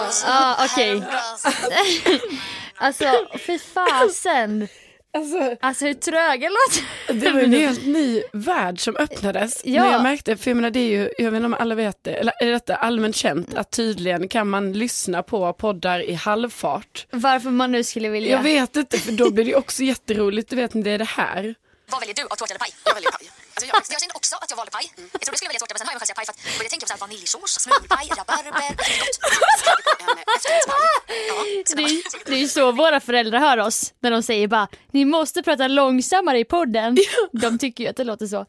Och så
Ja okej.
häromdagen
Alltså fy fasen.
Alltså,
Alltså hur tröga låter
det var ju en helt ny värld som öppnades.
Ja.
När jag märkte, för jag menar det är ju, jag vet inte om alla vet det, eller är detta allmänt känt, att tydligen kan man lyssna på poddar i halvfart.
Varför man nu skulle vilja.
Jag vet inte, för då blir det ju också jätteroligt, du vet när det är det här.
Vad väljer du? Av tårta eller paj? Jag väljer paj. Mm. Alltså jag, jag kände också att jag valde paj. Jag trodde jag skulle välja tårta men sen har jag själv säga paj för att jag började tänka på så här vaniljsås, smulpaj, rabarber. Det är gott. Så skrev vi på en efterrättspaj. Ja, så
Det
det var-
är, det är ju så våra föräldrar hör oss när de säger bara ni måste prata långsammare i podden. De tycker ju att det låter så.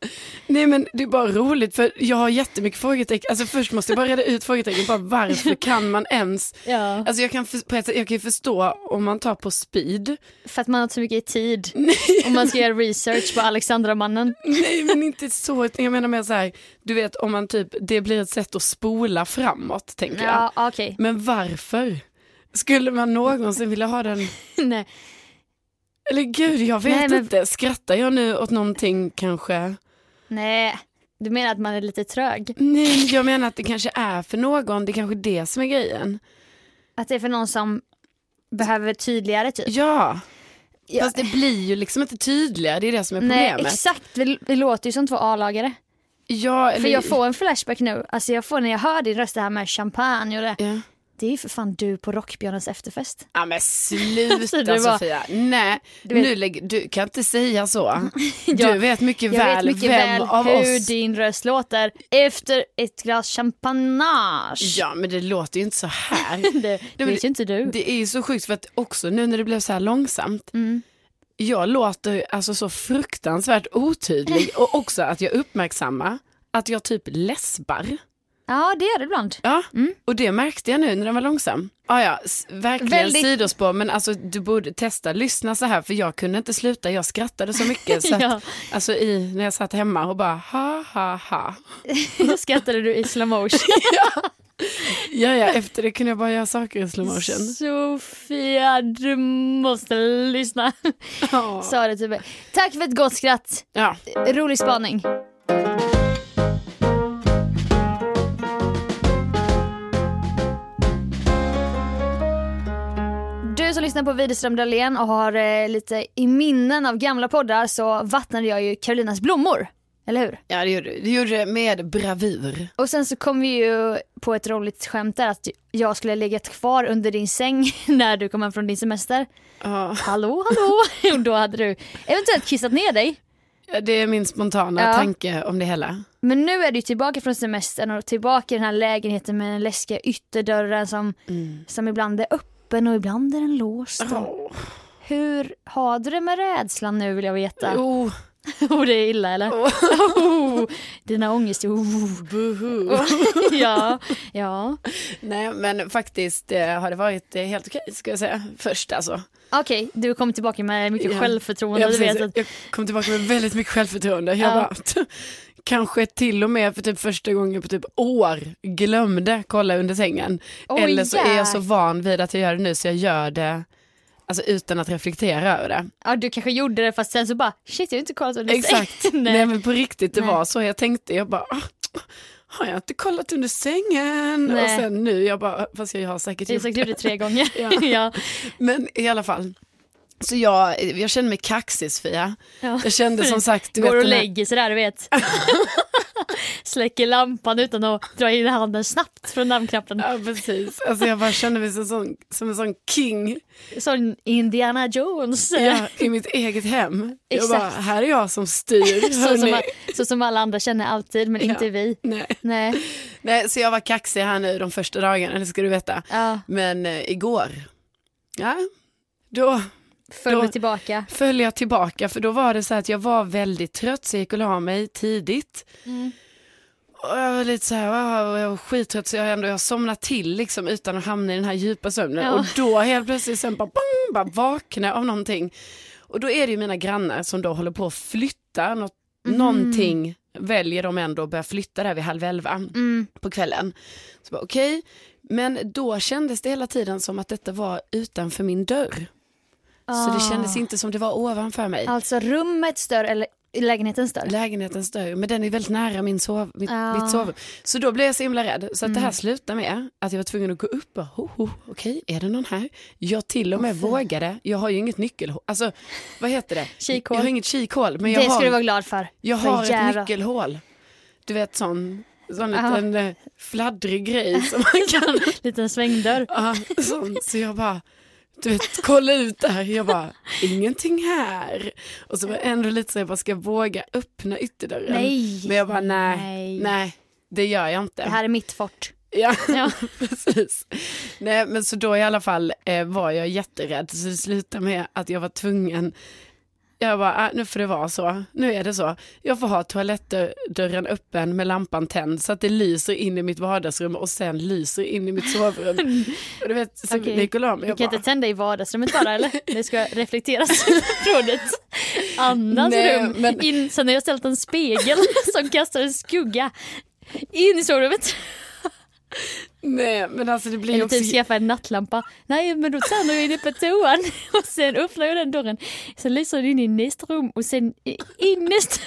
Nej men det är bara roligt för jag har jättemycket frågetecken. Alltså först måste jag bara reda ut frågetecken. Bara varför kan man ens?
Ja.
Alltså jag kan, för, på ett, sätt- jag kan ju förstå om man tar på speed.
För att man har inte så mycket tid. Om man ska göra research på Alexandramannen.
Nej men inte så. utan Jag menar mer så här. Du vet om man typ, det blir ett sätt att spola framåt tänker jag.
Ja okej.
Men varför? Skulle man någonsin vilja ha den?
Nej.
Eller gud jag vet
Nej, men-
inte. Skrattar jag nu åt någonting kanske?
Nej. Du menar att man är lite trög?
Nej jag menar att det kanske är för någon. Det är kanske är det som är grejen.
Att det är för någon som behöver tydligare typ?
Ja.
Ja.
Fast det blir ju liksom inte tydligare, det är det som är
Nej
problemet.
exakt, vi, vi låter ju som två A-lagare.
ja,
För jag får en flashback nu, alltså jag får när jag hör din röst det här med champagne och det.
Ja.
Det är ju för fan du på Rockbjörnens efterfest.
ja men
Alltså,
sluta
det var-
Sofia, nej
Du vet-
nu lägger, du kan inte säga så.
Ja,
Du vet mycket
Jag
väl
vet mycket
vem
väl
av
hur
oss.
din röst låter efter ett glas champagnage.
Ja men det låter ju inte så här.
Det
men
vet ju inte du.
det är ju så sjukt för att också nu när det blev så här långsamt,
Mm.
jag låter ju alltså så fruktansvärt otydlig och också att jag uppmärksammar att jag typ läspar.
Ja det gör det ibland.
Ja, och det märkte jag nu när den var långsam. Ah, ja, s- verkligen
Väldigt-
sidospår, men alltså, du borde testa lyssna så här, för jag kunde inte sluta, jag skrattade så mycket. Så att,
Ja.
alltså, i, när jag satt hemma och bara ha ha ha.
Då skrattade du i slow motion.
Ja, ja, efter det kunde jag bara göra saker i slow motion.
Sofia du måste lyssna.
Ja.
Sa det typ. Tack för ett gott skratt.
Ja.
Rolig spaning. Du som lyssnar på Widerström Dahlén och har eh, lite i minnen av gamla poddar så vattnade jag ju Karolinas blommor. Eller hur?
ja, det gjorde du. Du gjorde det med bravur.
Och sen så kom vi ju på ett roligt skämt där att jag skulle ha legat kvar under din säng när du kom hem från din semester.
Ja.
Hallå, hallå! Och då hade du eventuellt kissat ner dig.
Ja, Det är min spontana
Ja.
tanke om det hela.
Men nu är du tillbaka från semestern och tillbaka i den här lägenheten med den läskiga ytterdörren som,
Mm.
som ibland är öppen och ibland är den låst. Och
Oh.
Hur har du det med rädslan nu vill jag veta?
Oh.
Oh, det är illa eller? Oh, dina ångest. Oh.
Buhu.
Ja, ja.
Nej men faktiskt eh, har det varit eh, helt okej ska jag säga. Först alltså.
Okej, du kom tillbaka med mycket
Ja.
självförtroende.
Ja,
du
precis.
vet att,
Jag kom tillbaka med väldigt mycket självförtroende. Jag
Ja.
bara, kanske till och med för typ första gången på typ år glömde kolla under sängen.
Oj,
Eller så är jag så
jäk-
van vid att jag gör det nu så jag gör det alltså, utan att reflektera över det.
ja, du kanske gjorde det fast sen så bara shit jag har inte kollat under
Exakt.
sängen.
Nej.
Nej.
men på riktigt det
Nej.
var så. Jag tänkte, jag bara, ah, har jag inte kollat under sängen?
Nej.
Och sen nu, jag bara, "Ah, fast jag har säkert
Jag har
gjort
sagt det tre gånger.
Ja.
ja.
Men i alla fall. Så jag, jag kände mig kaxig Sofia.
Ja.
Jag kände som sagt, du
Går och
den här-
lägger sig där du vet. Släcker lampan utan att dra in handen snabbt från namnknappen.
Ja precis, alltså jag bara kände mig som, sån, som en sån king
Som Indiana Jones.
ja, i mitt eget hem. Jag bara,
Exakt.
här är jag som styr.
Så, som,
hörni.
a- så som alla andra känner alltid men inte
Ja.
vi.
Nej.
Nej.
Nej, så jag var kaxig här nu de första dagarna, det ska du veta.
Ja.
Men eh, igår, ja, då
Följ
Då-
mig tillbaka.
föll jag tillbaka för då var det så här att jag var väldigt trött så jag gick och la mig tidigt. Och jag var lite så här, "Ah, jag var skittrött så jag, ändå, jag somnade till liksom utan att hamna i den här djupa sömnen.
Ja.
Och då helt plötsligt sen bara, bang, bara vaknade jag av någonting. Och då är det ju mina grannar som då håller på att flytta något, någonting väljer de ändå att börja flytta där vid halv elva på kvällen. Så bara okej, men då kändes det hela tiden som att detta var utanför min dörr. Så
Ah.
det kändes inte som det var ovanför mig.
Alltså rummet stör eller lägenheten stör.
Lägenhetens dörr, men den är väldigt nära min sov, mitt,
Ja.
mitt sovrum. Så då blev jag så himla rädd. Så att
Mm.
det här slutade med att jag var tvungen att gå upp och ho, ho, okej, är det någon här? Jag till och med vågade, jag har ju inget nyckelhål, alltså vad heter det?
Kikhål.
Jag har inget kikhål, men jag
Det ska du
har,
vara glad för.
jag
För
har ett
jävla- Ah.
nyckelhål. Du vet sån, sån
Ja.
liten eh, fladdrig grej som man kan
Liten svängdörr.
Ja, sån. Så jag bara, du vet, kolla ut där. Jag bara, ingenting här. Och så var jag ändå lite så jag bara, ska jag våga öppna ytterdörren?
Nej.
Men jag bara, nej,
Nej.
nej, det gör jag inte.
Det här är mitt fort.
Ja,
Ja.
precis. Nej, men så då i alla fall eh, var jag jätterädd. Så det slutade med att jag var tvungen jag bara, ah, nu får det vara så. Nu är det så. Jag får ha toalettdörren öppen med lampan tänd så att det lyser in i mitt vardagsrum och sen lyser in i mitt sovrum. och du vet, så
Okej.
Nicolai, men
Du
jag
kan
bara,
inte tända i vardagsrummet bara eller? Det ska reflekteras från ett annans
Nej,
rum.
men-
In, sen har jag ställt en spegel som kastar en skugga in i sovrummet.
nej men alltså det blir ju
Eller
också...
typ skaffa en nattlampa. Nej men då tänder jag inne på toan och sen öppnar jag den dörren. Sen lyser den in i nästa rum och sen i- in nästa.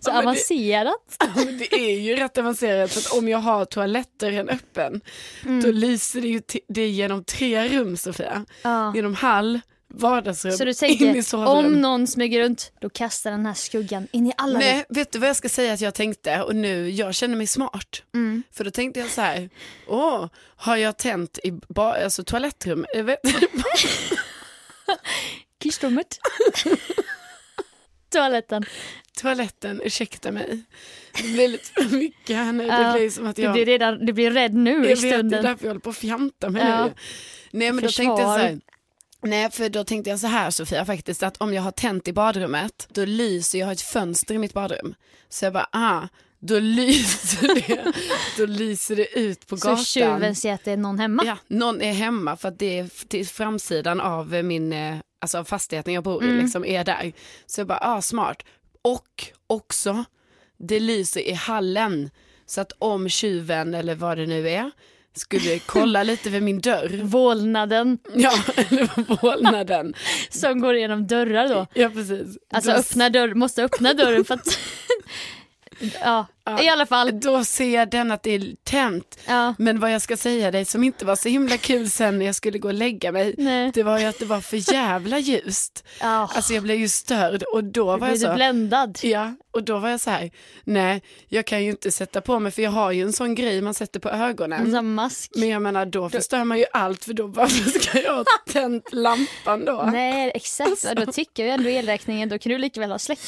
Så
men det-
avancerat.
Men det är ju rätt avancerat för att om jag har toalettdörren öppen
Mm.
då lyser det ju t- det genom tre rum Sofia.
Ja.
Genom hall, vardagsrum,
Så du
in i
tänker
sovrum.
om någon smyger runt då kastar den här skuggan in i alla rum.
Nej, vet du vad jag ska säga att jag tänkte och nu, jag känner mig smart.
Mm.
För då tänkte jag så här, åh, har jag tänt i ba- alltså, toalettrum? Jag vet-
Kissrummet. Toaletten.
Toaletten, ursäkta mig. Det blir lite för mycket här nu.
Ja,
Det blir som att
Du
jag...
blir, redan, du blir rädd nu i
Jag vet, det är
stunden.
därför jag håller på att fjanta mig
Ja.
nu. Nej men då tänkte jag
Försvar.
så här. Nej för då tänkte jag så här Sofia faktiskt att om jag har tänt i badrummet då lyser jag har ett fönster i mitt badrum. Så jag bara ah, då lyser det, då lyser det ut på
Så
gatan.
tjuven ser att det är någon hemma.
Ja, någon är hemma för att det är f- till framsidan av eh, min, eh, alltså av fastigheten jag bor i,
Mm.
liksom är där. Så jag bara, ah, smart. Och också, det lyser i hallen. Så att om tjuven eller vad det nu är skulle kolla lite vid min dörr,
Vålnaden
ja, eller vålnaden.
som går igenom dörrar då.
Ja, precis.
Alltså
då,
öppna dörr, måste öppna dörren för att... ja. i alla fall.
då ser jag den att det är tänt.
Ja.
Men vad jag ska säga dig som inte var så himla kul sen när jag skulle gå och lägga mig,
Nej.
det var ju att det var för jävla ljust.
Ja.
Alltså jag blev ju störd och då var
Blir
jag
Ah. du
så,
bländad?
ja, och då var jag så här, nej jag kan ju inte sätta på mig för jag har ju en sån grej man sätter på ögonen.
En sån mask?
Men jag menar då förstör man ju allt för då varför ska jag ha tänt lampan då?
Nej, exakt. Då tycker jag ändå elräkningen, då kan du lika väl ha släckt.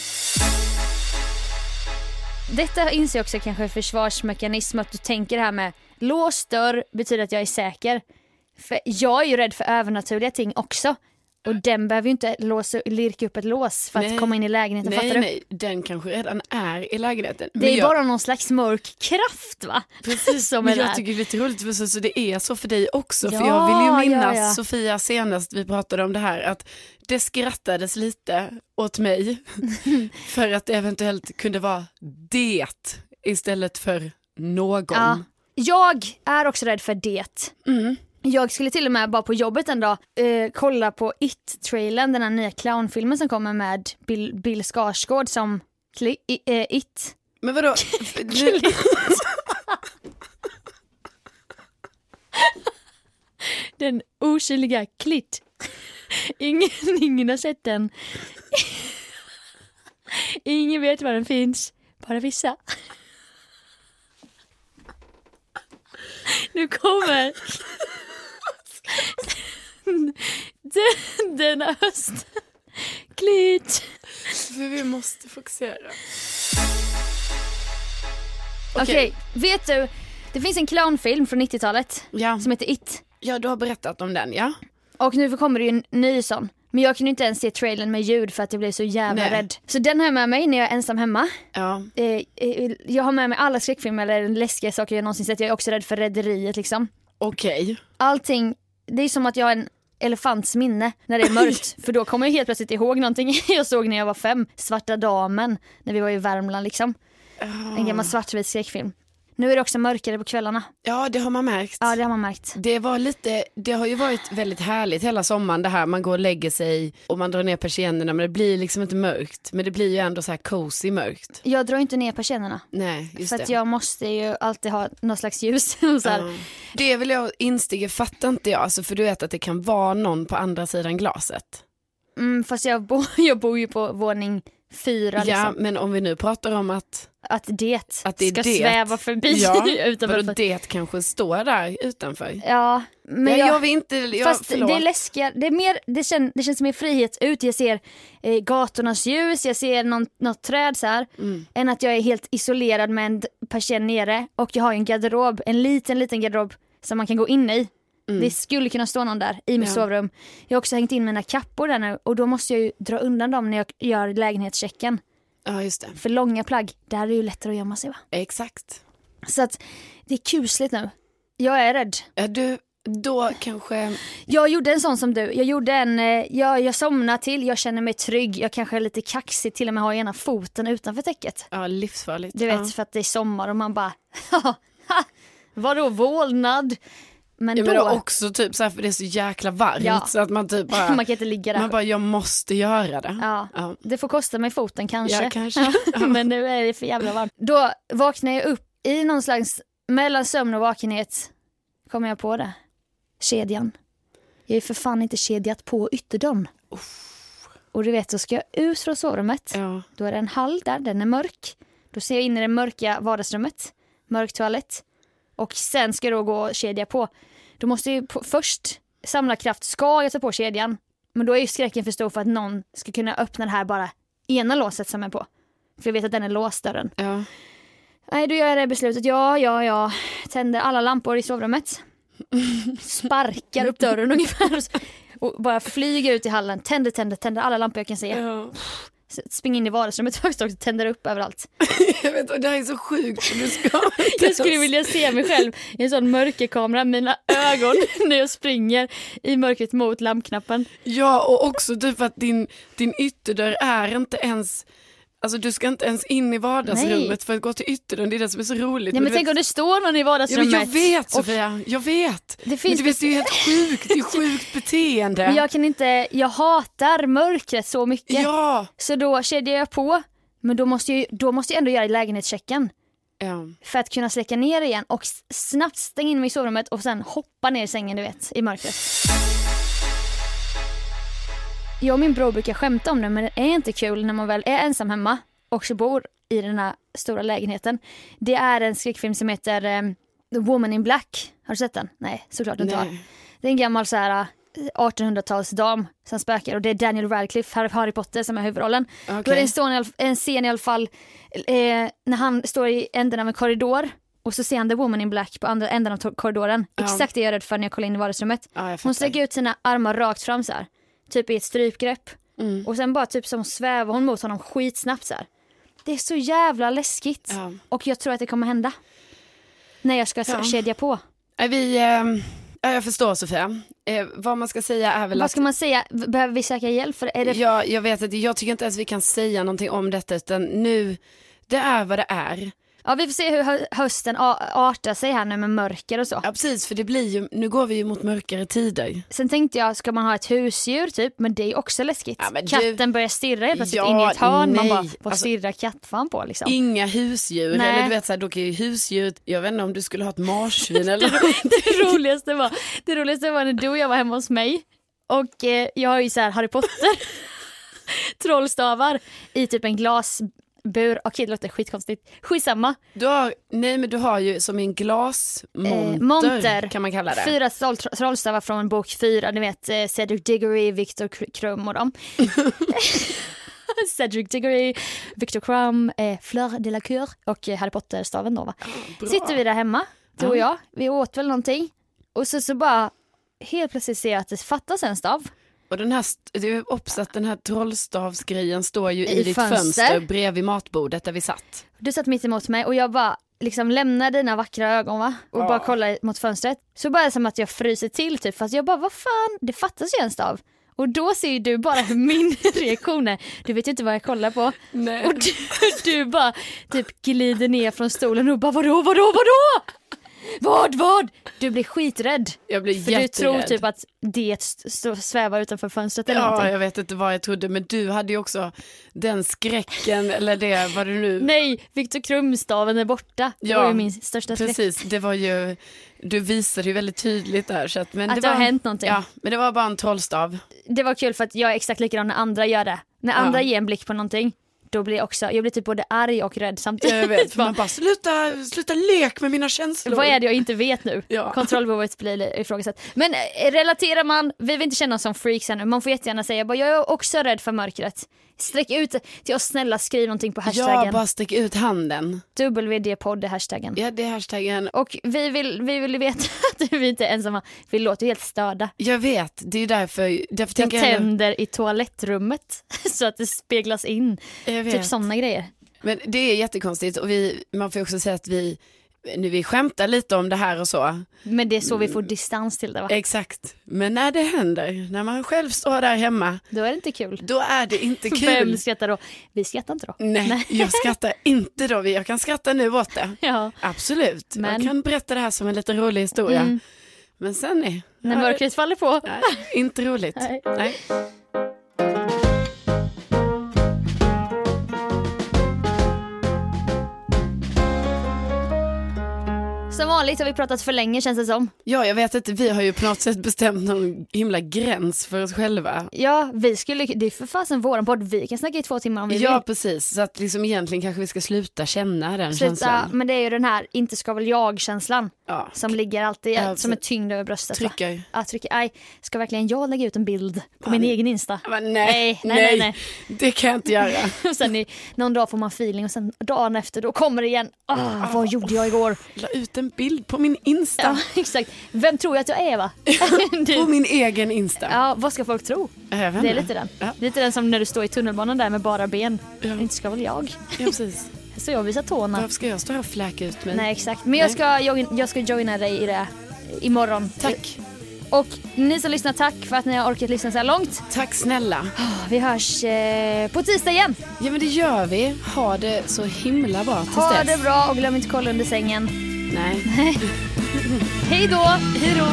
Detta inser jag också kanske är försvarsmekanism, att du tänker det här med låst dörr betyder att jag är säker. För jag är ju rädd för övernaturliga ting också. Och den behöver ju inte låsa, lirka upp ett lås för
Nej.
att komma in i lägenheten.
Nej,
fattar du?
nej, den kanske redan är i lägenheten.
Det är
jag,
bara någon slags mörk kraft va?
precis
som
men
är
jag
där.
tycker det är lite roligt för så, så det är så för dig också. för
Ja,
jag vill ju minnas
ja, ja.
Sofia senast vi pratade om det här att det skrattades lite åt mig för att det eventuellt kunde vara det istället för någon.
Ja. Jag är också rädd för det.
Mm.
Jag skulle till och med bara på jobbet en dag eh, kolla på It-trailern, den här nya clownfilmen som kommer med Bill, Bill Skarsgård som kli, i, eh, It.
Men vadå? Nu-
Den osynliga Klitt. Ingen, ingen har sett den. Ingen vet var den finns, bara vissa. Nu kommer den, denna höst. Klitt.
för vi måste fokusera.
Okej, vet du? Det finns en clownfilm från 90-talet
Ja.
som heter It.
ja, du har berättat om den ja.
Och nu kommer det ju en ny sån. Men jag kunde inte ens se trailern med ljud för att jag blev så jävla
Nej.
rädd. Så den har jag med mig när jag är ensam hemma.
ja.
Eh, eh, jag har med mig alla skräckfilmer eller läskiga saker jag någonsin sett. Jag är också rädd för Rederiet liksom.
Okej.
Allting, det är som att jag har en elefants minne när det är mörkt. för då kommer jag helt plötsligt ihåg någonting jag såg när jag var fem. Svarta damen, när vi var i Värmland liksom. En
Ah.
gammal svartvit skräckfilm. Nu är det också mörkare på kvällarna.
Ja, det har man märkt.
Ja, det har man märkt.
Det, var lite, det har ju varit väldigt härligt hela sommaren det här man går och lägger sig och man drar ner persiennerna men det blir liksom inte mörkt men det blir ju ändå så här cozy mörkt.
Jag drar inte ner persiennerna.
Nej, just
För att
det. Ah.
jag måste ju alltid ha något slags ljus. och så här.
Ja. Det vill jag instiga, fattar inte jag, alltså, för du vet att det kan vara någon på andra sidan glaset.
Mm, fast jag, bo, jag bor ju på våning fyra
Ja,
liksom.
men om vi nu pratar om att,
Att det,
att det är
ska
det.
sväva förbi
ja,
utanför.
Vadå, det kanske står där utanför.
Ja, men
Nej, jag,
jag,
vill inte, jag,
fast
förlåt.
det är läskiga, det, är mer, det, kän, det känns mer frihet ut. Jag ser eh, gatornas ljus, jag ser någon, något träd så här.
Mm.
Än att jag är helt isolerad med en d- persienn nere och jag har ju en garderob, en liten liten garderob som man kan gå in i. Det skulle kunna stå någon där i
Mm.
mitt
Ja.
sovrum. Jag har också hängt in mina kappor där nu och då måste jag ju dra undan dem när jag gör lägenhetschecken.
Ja, just det.
För långa plagg, där är det ju lättare att gömma sig va.
Exakt.
Så att det är kusligt nu. Jag är rädd.
Ja, du, då kanske...
Jag gjorde en sån som du. Jag gjorde en, eh, jag, jag somnar till, jag känner mig trygg, jag kanske är lite kaxig, till och med har ena foten utanför täcket.
Ja, livsfarligt.
Du vet, för att det är sommar och man bara, "Haha, vadå vålnad? Men
Ja,
då,
men då också typ så här, för det är så jäkla varmt
Ja.
så att man typ bara,
man kan inte ligga där.
man bara jag måste göra det.
ja.
Ja.
Det får kosta mig foten kanske.
Ja, kanske. Ja.
men nu är det för jävla varmt. Då vaknar jag upp i någon slags, mellan sömn och vakenhet, kommer jag på det. Kedjan. Jag är för fan inte kedjat på ytterdörren. Och du vet, så ska jag ut från sovrummet.
Ja.
Då är det en hall där, den är mörk. Då ser jag in i det mörka vardagsrummet, mörk toalett. Och sen ska jag då gå och kedja på. Då måste jag ju på, först samla kraft, ska jag ta på kedjan? Men då är ju skräcken för stor för att någon ska kunna öppna det här bara ena låset som är på. För jag vet att den är låst dörren.
Ja.
Nej, då gör jag det beslutet. Ja, ja, ja. Tänder alla lampor i sovrummet. Sparkar upp dörren ungefär. och så- Och bara flyger ut i hallen. Tänder, tänder, tänder alla lampor jag kan se
Ja.
springa in i vardagsrummet först också, tänder upp överallt.
Jag vet, och det här är så sjukt för du ska inte
Jag skulle
ens-
vilja se mig själv i en sån mörkerkamera, mina ögon när jag springer i mörkret mot lampknappen.
Ja och också typ att din, din ytterdörr är inte ens, alltså du ska inte ens in i vardagsrummet
Nej.
för att gå till ytterdörrn, det är det som är så roligt.
Ja, men
du
tänk
vet-
om det står någon i
Ja, men
vardagsrummet.
jag vet
och,
Sofia, jag vet. Det,
finns
men du vet, det är ju helt sjukt, det är sjukt beteende.
men jag kan inte, jag hatar mörkret så mycket.
Ja.
Så då kedjar jag på, men då måste jag, då måste jag ändå göra lägenhetschecken.
ja.
För att kunna släcka ner igen och s- snabbt stänga in mig i sovrummet och sen hoppa ner i sängen du vet, i mörkret. Jag och min bror brukar skämta om det men det är inte kul när man väl är ensam hemma och så bor i den här stora lägenheten. Det är en skräckfilm som heter eh, The Woman in Black. Har du sett den? Nej, såklart du inte har.
Nej.
Det är en gammal så här eh, 1800-talsdam som spökar och det är Daniel Radcliffe, Harry- Harry Potter som är huvudrollen. Då är det
Okej.
en, stående i alla, en scen i alla fall eh, när han står i änden av en korridor och så ser han The Woman in Black på andra änden av to- korridoren.
Ja.
Exakt det jag är rädd för när jag kollar in i vardagsrummet.
Ja, jag
Hon
fattar.
sträcker ut sina armar rakt fram så här. typ i ett strypgrepp.
Mm.
Och sen bara typ som svävar hon mot honom skitsnabbt så här. Det är så jävla läskigt.
Ja.
Och jag tror att det kommer hända. När jag ska
Ja.
ja. kedja på.
Nej, Vi, ehm, ja, jag förstår Sofia. Eh, vad man ska säga är väl
Vad
att
ska man säga? V- Behöver vi söka hjälp? För det? är det...
Ja, jag vet att jag tycker inte ens vi kan säga någonting om detta utan nu, det är vad det är.
Ja, vi får se hur hö- hösten a- artar sig här nu med mörker och så.
Ja precis, för det blir ju, nu går vi ju mot mörkare tider.
Sen tänkte jag, ska man ha ett husdjur typ? Men det är också läskigt.
Ja, men du-
Katten börjar stirra helt plötsligt
Ja,
in i ett hörn. Man
nej.
bara, vad
Alltså-
stirrar kattfan på liksom?
Inga husdjur,
Nej.
eller du vet så här, då kan ju husdjur, jag vet inte om du skulle ha ett marsvin eller något.
Det roligaste, var, det roligaste var när du och jag var hemma hos mig och eh, jag har ju så här Harry Potter trollstavar i typ en glasbur. Okej det låter skitkonstigt. Skitsamma.
Du har, nej men du har ju som en glasmonter,
Eh, monter.
kan man kalla det.
Fyra troll, trollstavar från bok fyra. Ni vet eh, Cedric Diggory, Victor Kr- Krum och dem. Cedric Diggory, Victor Krum, eh, Fleur de la Cour och eh, Harry Potter-staven då va.
Ah, Bra.
sitter vi där hemma, du och jag. Vi åt väl någonting. Och så, så bara helt plötsligt ser jag att det fattas en stav.
Och den här, st- det är också att den här trollstavsgrejen står ju i,
I
ditt fönster.
fönster.
bredvid matbordet där vi satt.
Du satt mitt emot mig och jag bara liksom lämnar dina vackra ögon va? Och bara kollar mot fönstret. Så bara som att jag fryser till typ fast jag bara vad fan det fattas ju en stav. Och då ser ju du bara min reaktion är, du vet ju inte vad jag kollar på.
Nej.
Och du, du bara typ glider ner från stolen och bara vadå, vadå, vadå? Vad, vad? Du blir skiträdd.
Jag blir
För du
jätterädd.
tror typ att det st- st- svävar utanför fönstret eller
Ja,
någonting.
jag vet inte vad jag trodde, men du hade ju också den skräcken, eller det, vad det nu...
Nej, Viktor Krumstaven är borta. Det
Ja,
var ju min största skräck.
Precis, det var ju, du visade ju väldigt tydligt där. Så att, men
Att
det
det
var,
har hänt någonting.
Ja, men det var bara en trollstav.
det var kul för att jag är exakt likadan när andra gör det. När andra ger en blick på någonting, då blir jag också, jag blir typ både arg och rädd samtidigt.
Jag vet, för
Bara,
man bara, sluta, sluta lek med mina känslor.
Vad är det jag inte vet nu?
Ja.
Kontrollbehovet blir ifrågasatt. Men eh, relaterar man, vi vill inte känna oss som freaks ännu, man får jättegärna säga bara, jag är också rädd för mörkret. Sträck ut till oss, snälla skriv någonting på
Ja,
hashtaggen.
bara stick ut handen.
WD-podd är hashtaggen.
Ja, det är hashtaggen.
Och vi vill, vi vill veta att vi inte är ensamma, vi låter ju helt störda.
Jag vet, det är ju därför, därför
Jag
tänker jag,
tänder i toalettrummet så att det speglas in.
jag vet.
Typ sådana grejer.
Men det är jättekonstigt och vi, man får ju också säga att vi, nu vi skämtar lite om det här och så.
Men det är så vi
Mm.
får distans till det va?
Exakt, men när det händer, när man själv står där hemma,
Då är det inte kul.
då är det inte kul.
Vem skrattar då? Vi skrattar inte då.
Nej, jag skrattar inte då. Jag kan skratta nu åt det.
Ja.
Absolut, jag
Men- Mm.
kan berätta det här som en lite rolig historia. Men sen är
När mörkret faller på.
Nej, inte roligt.
Nej.
Nej.
Som vanligt har vi pratat för länge känns det som.
Ja, jag vet inte, vi har ju på något sätt bestämt någon himla gräns för oss själva.
Ja, vi skulle, det är för fasen våran podd. Vi kan snacka i två timmar om vi
Ja,
vill.
precis. Så att liksom egentligen kanske vi ska sluta känna den
Sluta,
känslan.
men det är ju den här inte ska väl jag-känslan
Ja.
som ligger alltid
Ja,
som en tyngd över bröstet. va?
Trycker.
Ja, trycker. Aj, ska verkligen jag lägga ut en bild på min egen Insta?
Men
Nej, nej, nej, nej.
det kan jag inte göra.
Och sen i, någon dag får man feeling och sen dagen efter då kommer det igen. Ah, vad gjorde jag igår?
La ut en bild på min Insta,
Ja, exakt. Vem tror jag att jag är va?
på
Du.
min egen Insta.
Ja, vad ska folk tro?
Jag vet
Det är
inte.
lite den.
Ja,
Lite den som när du står i tunnelbanan där med bara ben. Inte ska väl jag?
ja, precis.
Så jag visar tårna.
Varför ska jag stå här och fläka ut mig?
Nej exakt. Men jag ska, jag, jag ska joina dig i det imorgon.
Tack.
Och ni som lyssnar, tack för att ni har orkat lyssna så här långt.
Tack snälla.
Vi hörs eh, på tisdag igen.
Ja men det gör vi. Ha det så himla bra tills
Ha
dess.
det bra och glöm inte kolla under sängen.
Nej.
Hej då! Hej då!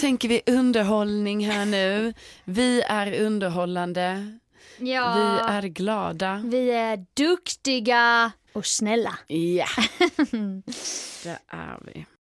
Tänker vi underhållning här nu. Vi är underhållande.
Ja.
Vi är glada.
Vi är duktiga och snälla.
Ja. Det är vi.